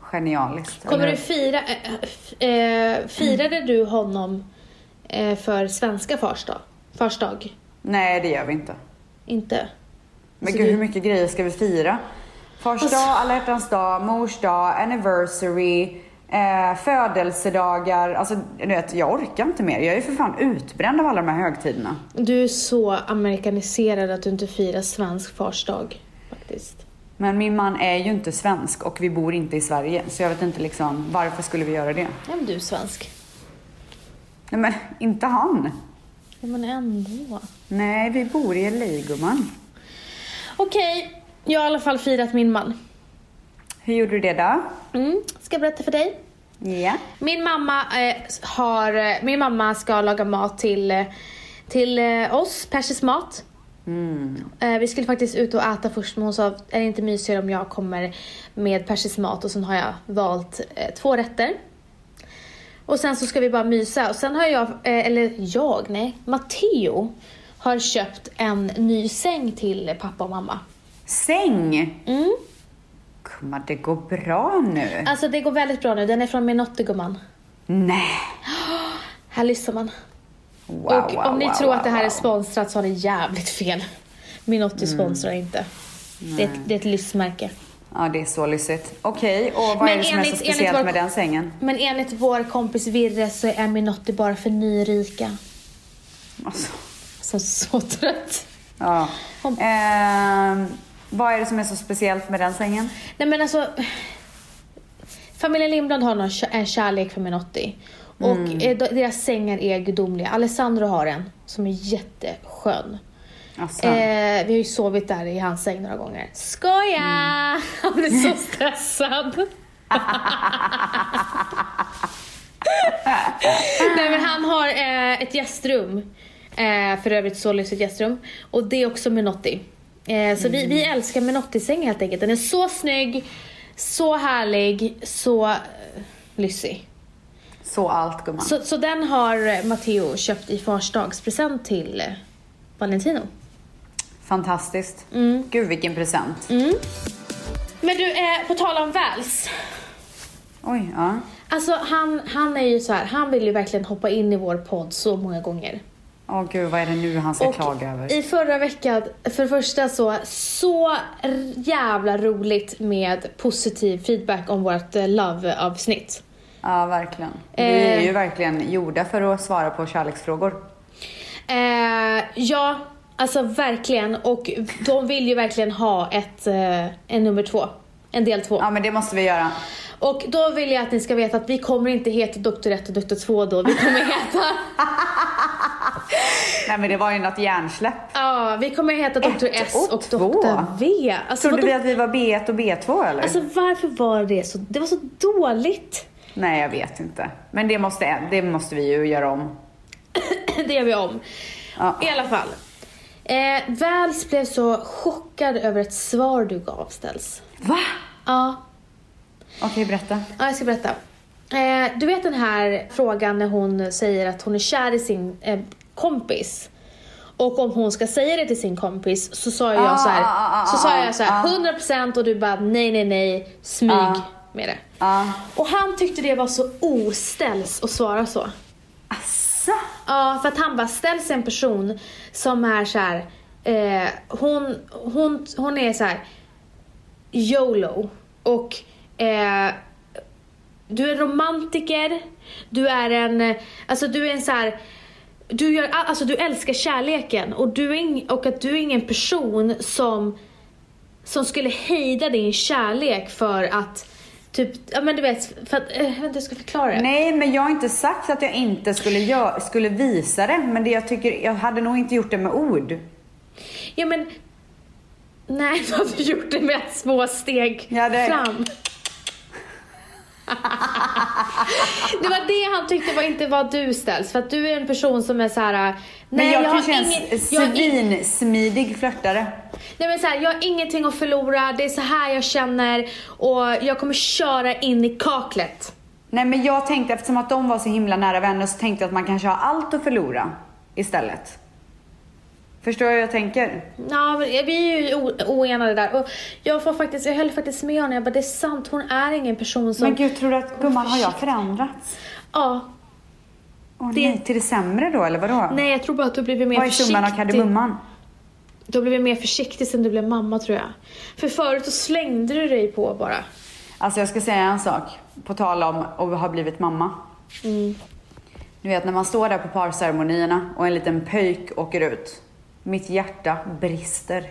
A: genialiskt.
B: Kommer
A: eller
B: du
A: hur?
B: fira, eh, f- eh, firade du honom eh, för svenska fars dag? Fars dag?
A: Nej det gör vi inte.
B: Inte?
A: Men
B: Så
A: gud,
B: du- Alltså-
A: hur mycket grejer ska vi fira? Fars dag, alla hjärtans dag, mors dag, anniversary, eh, födelsedagar. Alltså, du vet, jag orkar inte mer. Jag är för fan utbränd av alla de här högtiderna.
B: Du är så amerikaniserad att du inte firar svensk fars dag. faktiskt.
A: Men min man är ju inte svensk och vi bor inte i Sverige. Så jag vet inte liksom, varför skulle vi göra det?
B: Ja, men du är svensk.
A: Nej men, inte han.
B: Ja, men ändå.
A: Nej, vi bor i LA gumman.
B: Okej, jag har i alla fall firat min man.
A: Hur gjorde du det då?
B: Mm. Ska jag berätta för dig?
A: Ja.
B: Min mamma, eh, har, eh, min mamma ska laga mat till, eh, till eh, oss, persisk mat. Eh, vi skulle faktiskt ut och äta först men hon sa, är det inte mysigare om jag kommer med persisk mat och sen har jag valt eh, två rätter. Och sen så ska vi bara mysa och sen har jag, eh, eller jag, nej, Matteo har köpt en ny säng till pappa och mamma.
A: Säng!
B: Mm.
A: Gumman, det går bra nu.
B: Alltså det går väldigt bra nu, den är från Menotti gumman.
A: Nej.
B: Här lyssnar man.
A: Wow,
B: och
A: wow,
B: om ni
A: wow,
B: tror att
A: wow,
B: det här är
A: wow. Mm.
B: sponsrat så har ni jävligt fel. Minotti sponsrar inte. Det är, ett, det är ett lyxmärke.
A: Ja, det är så lyssigt. Okej, och vad
B: Men
A: är det som är
B: enligt-
A: så
B: enligt
A: speciellt
B: vår-
A: med den sängen?
B: Men enligt vår kompis Virre så är Minotti bara för nyrika.
A: Alltså,
B: Så, så trött.
A: ja.
B: Om-
A: Ehm, vad är det som är så speciellt med den sängen?
B: Nej men alltså. Familjen Lindblad har någon, kär- en kärlek för Minotti. Och
A: Mm.
B: eh, de- deras sängar är gudomliga. Alessandro har en som är jätteskön.
A: Alltså,
B: Eh, vi har ju sovit där i hans säng några gånger. Skoja! Han blir så stressad. Nej men han har eh, ett gästrum. Eh, för övrigt så lyxigt gästrum. Och det är också Menotti. Eh, så vi, vi älskar Menotti-sängen helt enkelt. Den är så snygg, så härlig, så eh, lyssig.
A: så allt gumman.
B: Så, så den har eh, Matteo köpt i farsdagspresent till eh, Valentino.
A: Fantastiskt.
B: Mm.
A: Gud vilken present.
B: Men du, eh, på tal om Vals.
A: Oj, ja.
B: Alltså han, han är ju så här, han vill ju verkligen hoppa in i vår podd så många gånger.
A: Åh gud, vad är det nu han ska klaga över?
B: i förra veckan, för det första så, så jävla roligt med positiv feedback om vårt eh, love-avsnitt.
A: Ja, verkligen. Vi är ju verkligen gjorda för att svara på kärleksfrågor.
B: Eh, ja, alltså verkligen. Och de vill ju verkligen ha ett, eh, en nummer två. En del två.
A: Ja, men det måste vi göra.
B: Och då vill jag att ni ska veta att vi kommer inte heta Doktor 1 och Doktor 2 då. Vi kommer heta,
A: Nej, men det var ju något hjärnsläpp.
B: ja, vi kommer heta Doktor
A: Ett
B: S
A: och
B: och
A: två.
B: Doktor V. Alltså,
A: Trodde
B: vadå?
A: vi att vi var B1 och B2 eller?
B: alltså varför var det så? Det var så dåligt.
A: Nej, jag vet inte. Men det måste, det måste vi ju göra om.
B: det gör vi om.
A: Ja.
B: I alla fall. Eh, Väls blev så chockad över ett svar du gav Ställs.
A: Va?
B: Ja,
A: Okej, berätta.
B: ja jag ska berätta. Eh, du vet den här frågan när hon säger att hon är kär i sin eh, kompis. Och om hon ska säga det till sin kompis så sa jag
A: Ah,
B: så här,
A: ah, ah, ah,
B: så sa jag så här
A: ah.
B: 100% och du bara nej nej nej, smyg med det.
A: Ja.
B: Och han tyckte det var så oställs att svara så.
A: Asså?
B: Ja, för att han bara ställs en person som är så här. Eh, hon, hon, hon är så här. YOLO. Och eh, du är romantiker. Du är en, eh, alltså du är en så här. Du, gör, alltså du älskar kärleken och, du är ing, och att du är ingen person som, som skulle hejda din kärlek för att typ, ja men du vet, för att, eh, jag vet inte hur jag ska förklara det.
A: Nej, men jag har inte sagt att jag inte skulle, gö- skulle visa det. Men det jag tycker, jag hade nog inte gjort det med ord.
B: Ja men... Nej, vad har du gjort det med små steg
A: Ja, det-
B: fram? det var det han tyckte var inte var du ställs. För att du är en person som är så här. äh,
A: Men
B: Nej,
A: jag,
B: jag, har
A: kanske är en
B: inget,
A: s-
B: jag, har ing-
A: svinsmidig flörtare.
B: nej, men så här, jag har ingenting att förlora, det är så här jag känner och jag kommer köra in i kaklet.
A: Nej, men jag tänkte eftersom att de var så himla nära vänner så tänkte jag att man kanske har allt att förlora istället. Förstår du hur jag tänker?
B: Ja, men vi är ju o- oenade där. Och jag, får faktiskt, jag höll faktiskt med honom, jag bara det är sant, hon är ingen person som...
A: Men gud, tror du att gumman, har jag förändrats?
B: Ja,
A: Åh
B: Det-
A: nej, till det sämre då eller vadå?
B: nej jag tror bara att du har blivit mer
A: Vad är summan av kardemumman?
B: Då blev jag mer försiktig sen du blev mamma tror jag. För förut så slängde du dig på bara.
A: Alltså jag ska säga en sak, på tal om att ha blivit mamma. Du vet när man står där på parceremonierna och en liten pöjk åker ut. Mitt hjärta brister.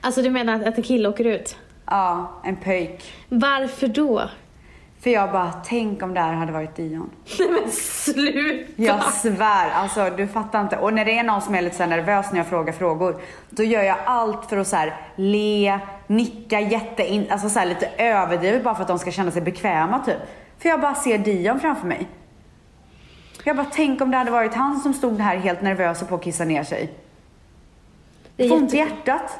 B: Alltså du menar att, att en kille åker ut?
A: Ja, en pöjk.
B: Varför då?
A: För jag bara, tänk om det här hade varit Dion.
B: Nej men sluta!
A: Jag svär, alltså du fattar inte. Och när det är någon som är lite så här nervös när jag frågar frågor, då gör jag allt för att så här le, nicka jättein, alltså så här lite överdrivet bara för att de ska känna sig bekväma typ. För jag bara ser Dion framför mig. Jag bara, tänk om det hade varit han som stod här helt nervös och på att kissa ner sig.
B: Det är
A: Får ont i
B: jätte...
A: hjärtat.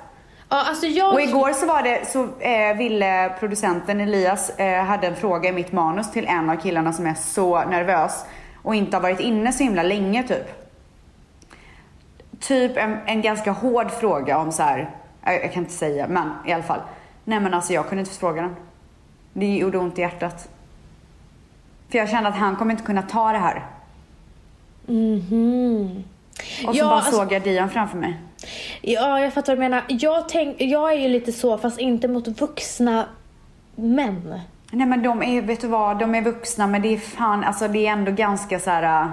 B: Ja, alltså jag...
A: Och igår så var det, så eh, ville producenten Elias, eh, hade en fråga i mitt manus till en av killarna som är så nervös och inte har varit inne så himla länge typ. Typ en, en ganska hård fråga om så här. Jag, jag kan inte säga men i alla fall. Nej men alltså jag kunde inte fråga den. Det gjorde ont i hjärtat. För jag kände att han kommer inte kunna ta det här. Och så
B: Ja,
A: bara
B: alltså-
A: såg jag Dion framför mig.
B: Ja, jag fattar vad du menar. Jag, tänk... jag är ju lite så, fast inte mot vuxna män.
A: Nej men de är, vet du vad, de är vuxna men det är fan, alltså det är ändå ganska så här. äh,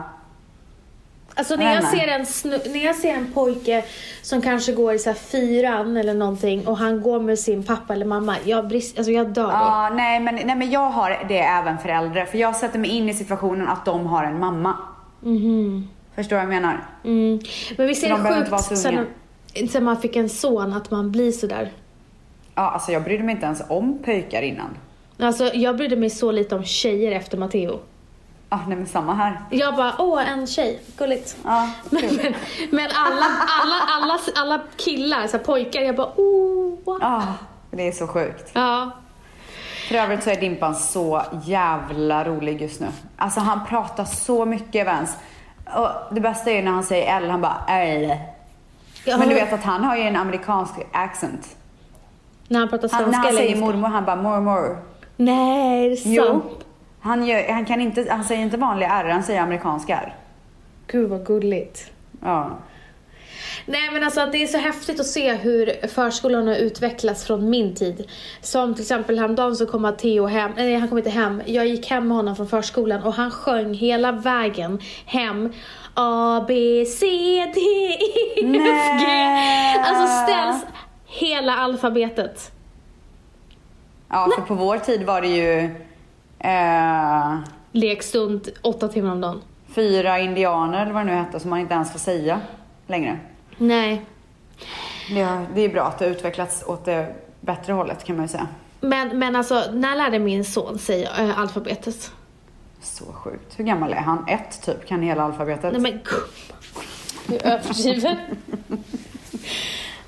B: Alltså
A: Nej,
B: när jag,
A: nej.
B: ser en snu, när jag ser en pojke som kanske går i så här fyran eller någonting och han går med sin pappa eller mamma, jag, brist, alltså jag dör då.
A: Ja, nej men, nej men jag har det även för äldre. För jag sätter mig in i situationen att de har en mamma. Förstår vad jag menar?
B: Mm. Men visst är
A: De
B: det
A: behöver inte vara
B: sjukt
A: så
B: sen,
A: unga.
B: sen man fick en son att man blir sådär.
A: Ja, alltså jag brydde mig inte ens om pojkar innan.
B: Alltså jag brydde mig så lite om tjejer efter Matteo.
A: Ja, nej men samma här.
B: Jag bara, åh en tjej, gulligt.
A: Ja,
B: Men,
A: kul.
B: men, men alla, alla, alla, alla killar, så här, pojkar, jag bara, åh. Ja.
A: Ah, det är så sjukt. För övrigt så är Dimpan så jävla rolig just nu. Alltså han pratar så mycket Evans. Och det bästa är ju när han säger L, han bara L.
B: Jag
A: Men du
B: hör-
A: vet att han har ju en amerikansk accent.
B: När han pratar svenska
A: Han, när han
B: eller
A: säger
B: engelska.
A: mormor, han bara mormor.
B: Nej, är det sant?
A: Han, gör, han, kan inte, han säger inte vanliga R, han säger amerikanska R.
B: Gud vad gulligt.
A: Ja.
B: Nej men alltså att det är så häftigt att se hur förskolan har utvecklats från min tid. Som till exempel häromdagen så kom Theo hem, nej han kom inte hem, jag gick hem med honom från förskolan och han sjöng hela vägen hem A, B, C, D, E, F, G.
A: Nej.
B: Alltså ställs hela alfabetet.
A: Ja, för på vår tid var det ju eh,
B: Lekstund åtta timmar om dagen.
A: fyra indianer eller vad det nu hette som man inte ens får säga längre.
B: Nej.
A: Det, det är bra att det har utvecklats åt det bättre hållet kan man ju säga.
B: Men, men alltså, när lärde min son sig eh, alfabetet?
A: Så sjukt. Hur gammal är han? Ett typ, kan hela alfabetet.
B: Nej men gumman. Du överdriver.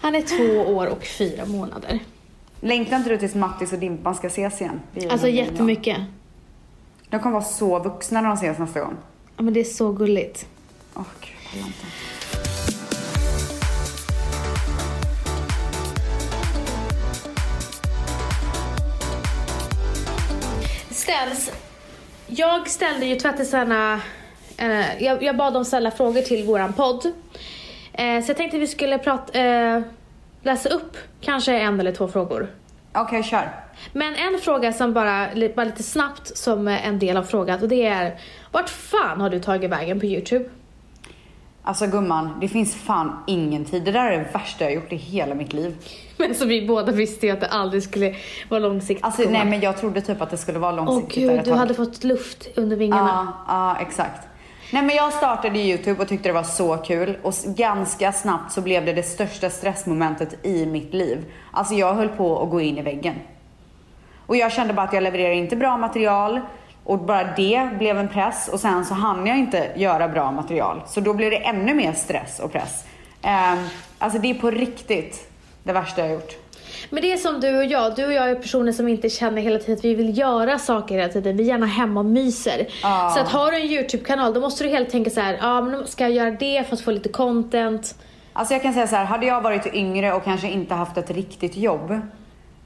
B: Han är två år och fyra månader.
A: Längtar inte du tills Mattis och Dimpan ska ses igen? Det är ju
B: Alltså
A: någon gång, ja.
B: jättemycket.
A: De kommer vara så vuxna när de ses nästa gång.
B: Ja, men det är så gulligt.
A: Åh gud, kolla inte.
B: Ställs. Jag ställde ju tvättisarna, eh, jag, jag bad dem ställa frågor till våran podd. Eh, så jag tänkte vi skulle prata, eh, läsa upp kanske en eller två frågor.
A: Okej, kör.
B: Men en fråga som bara, li- bara lite snabbt som eh, en del av frågan och det är vart fan har du tagit vägen på Youtube?
A: Alltså gumman, det finns fan ingen tid. Det där är det värsta jag har gjort i hela mitt liv.
B: Men som vi båda visste ju att det aldrig skulle vara långsiktigt.
A: Alltså nej men jag trodde typ att det skulle vara
B: Åh
A: långsiktigt. där
B: gud,
A: ett
B: du
A: tag.
B: hade fått luft under vingarna.
A: Ja, ja exakt. Nej men jag startade Youtube och tyckte det var så kul och s- ganska snabbt så blev det det största stressmomentet i mitt liv. Alltså jag höll på att gå in i väggen. Och jag kände bara att jag levererar inte bra material och bara det blev en press och sen så hann jag inte göra bra material. Så då blev det ännu mer stress och press. Ehm, alltså det är på riktigt det värsta jag har gjort.
B: Men det är som du och jag, du och jag är personer som inte känner hela tiden att vi vill göra saker hela tiden. Vi är gärna hemma och myser.
A: Ja.
B: Så att har du en YouTube-kanal då måste du helt tänka så här, ja men ska jag göra det för att få lite content?
A: Alltså jag kan säga så här, hade jag varit yngre och kanske inte haft ett riktigt jobb,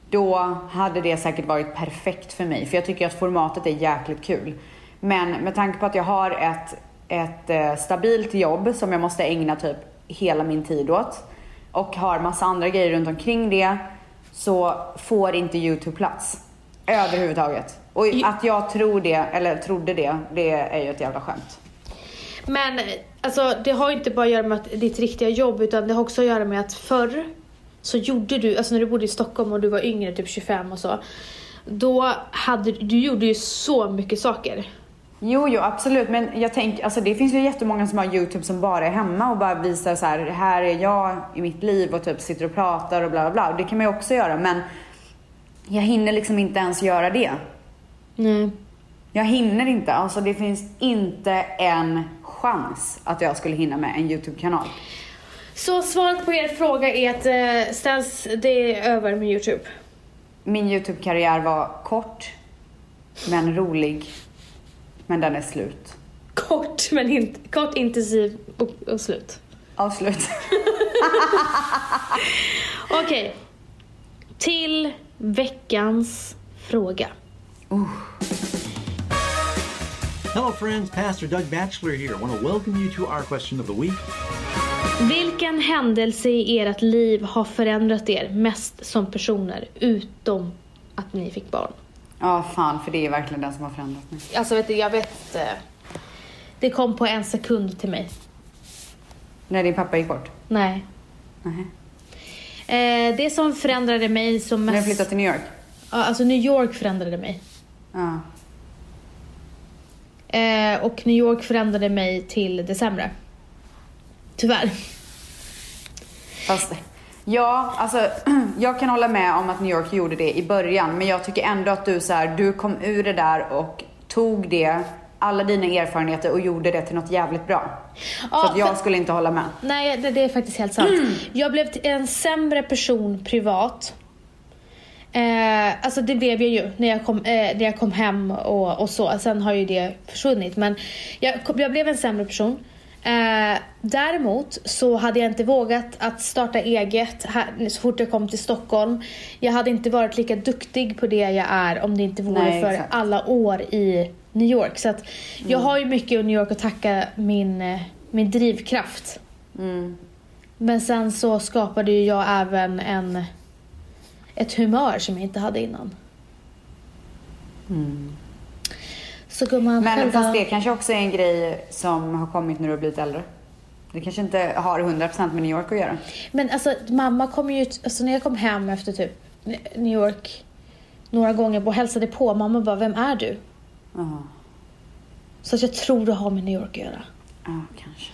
A: då hade det säkert varit perfekt för mig. För jag tycker att formatet är jäkligt kul. Men med tanke på att jag har ett, ett eh, stabilt jobb som jag måste ägna typ hela min tid åt och har massa andra grejer runt omkring det så får inte Youtube plats. Överhuvudtaget. Och att jag tror det, eller trodde det, det är ju ett jävla skämt.
B: Men alltså det har ju inte bara att göra med att ditt riktiga jobb utan det har också att göra med att förr så gjorde du, alltså när du bodde i Stockholm och du var yngre, typ 25 och så. Då hade du gjorde ju så mycket saker.
A: Jo, jo absolut. Men jag tänker, alltså det finns ju jättemånga som har YouTube som bara är hemma och bara visar så här, här är jag i mitt liv och typ sitter och pratar och bla bla bla. Och Det kan man ju också göra men jag hinner liksom inte ens göra det.
B: Nej.
A: Jag hinner inte. Alltså det finns inte en chans att jag skulle hinna med en YouTube-kanal.
B: Så svaret på er fråga är att eh, Stans, det är över med Youtube.
A: Min YouTube-karriär var kort, men rolig. Men den är slut.
B: Kort, men in, kort, intensiv och, och slut.
A: Avslut.
B: Okej. Till veckans fråga.
F: Hello, friends. Pastor Doug Batchelor here. I want to welcome you to our question of the week.
B: Vilken händelse i ert liv har förändrat er mest som personer, utom att ni fick barn?
A: Ja, fan, för det är verkligen den som har förändrat mig.
B: Alltså vet du, jag vet... eh, Det kom på en sekund till mig.
A: När din pappa gick bort?
B: Nej.
A: Nej.
B: Eh, det som förändrade mig som
A: När jag
B: mest...
A: flyttade till New York?
B: Ja, Alltså New York förändrade mig.
A: Ja.
B: Eh, och New York förändrade mig till det sämre. Tyvärr.
A: Fast, ja, alltså jag kan hålla med om att New York gjorde det i början. Men jag tycker ändå att du så här, du kom ur det där och tog det, alla dina erfarenheter och gjorde det till något jävligt bra.
B: Ja,
A: så att jag
B: för-
A: skulle inte hålla med.
B: Nej, det, det är faktiskt helt sant.
A: Mm.
B: Jag blev t- en sämre person privat. Eh, alltså det blev jag ju när jag kom, eh, när jag kom hem och, och så. Sen har ju det försvunnit. Men jag, kom- jag blev en sämre person. Eh, däremot så hade jag inte vågat att starta eget här, så fort jag kom till Stockholm. Jag hade inte varit lika duktig på det jag är om det inte vore
A: Nej,
B: för
A: exakt. Mm.
B: alla år i New York. Så att jag har ju mycket i New York att tacka min, eh, min drivkraft. Men sen så skapade ju jag även en, ett humör som jag inte hade innan. Mm. Så gumman,
A: Men
B: själva-
A: fast det kanske också är en grej som har kommit när du har blivit äldre. Det kanske inte har 100% med New York att göra.
B: Men alltså mamma kom ju, alltså när jag kom hem efter typ New York några gånger och hälsade på, mamma bara, vem är du?
A: Jaha.
B: Så att jag tror det har med New York att göra.
A: Ja, kanske.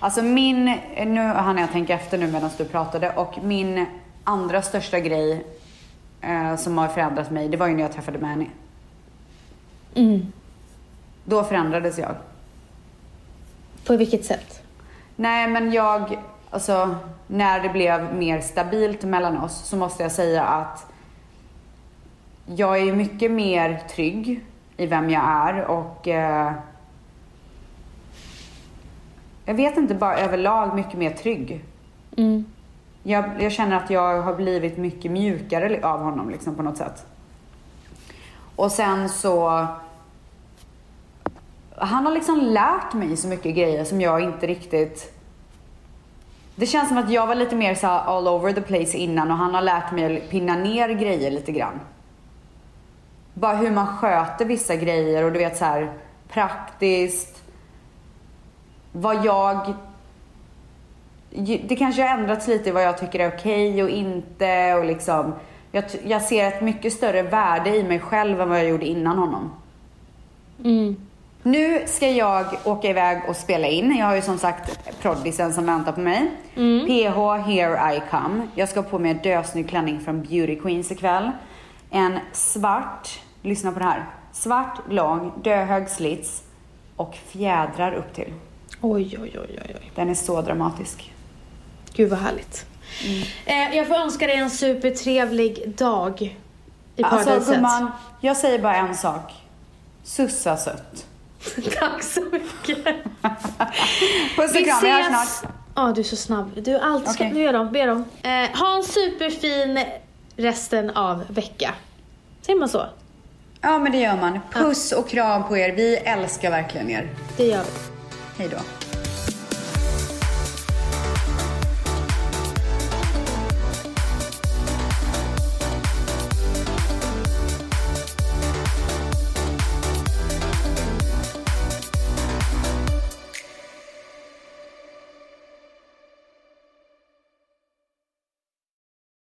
A: Alltså min, nu hann jag tänka efter nu medan du pratade och min andra största grej eh, som har förändrat mig, det var ju när jag träffade Manny. Då förändrades jag.
B: På vilket sätt?
A: Nej men jag, alltså när det blev mer stabilt mellan oss så måste jag säga att jag är ju mycket mer trygg i vem jag är och eh, jag vet inte, bara överlag mycket mer trygg.
B: Mm.
A: Jag, jag känner att jag har blivit mycket mjukare li- av honom liksom på något sätt. Och sen så... Han har liksom lärt mig så mycket grejer som jag inte riktigt... Det känns som att jag var lite mer så här all over the place innan och han har lärt mig att pinna ner grejer lite grann. Bara hur man sköter vissa grejer och du vet så här praktiskt. Vad jag ju- det kanske har ändrats lite i vad jag tycker är okej och inte och liksom. Jag, t- jag ser ett mycket större värde i mig själv än vad jag gjorde innan honom. Nu ska jag åka iväg och spela in. Jag har ju som sagt proddisen som väntar på mig. PH Here I Come. Jag ska på mig en dösnygg klänning från Beauty Queens ikväll. En svart, lyssna på det här. Svart, lång, döhög slits och fjädrar upp till.
B: Oj, oj, oj, oj, oj.
A: Den är så dramatisk.
B: Gud vad härligt. Eh, jag får önska dig en supertrevlig dag i
A: Alltså
B: paradiset.
A: gumman, jag säger bara en sak. Sussa sött.
B: Tack så mycket.
A: Puss och kram, vi hörs snart.
B: Ja, du är så snabb. Du är alltid så
A: Okej.
B: snabb. Nu gör de, be dem. Eh, ha en superfin resten av vecka. Säger man så?
A: Ja men det gör man. Puss och kram på er. Vi älskar verkligen er.
B: Det gör vi.
A: Hej då.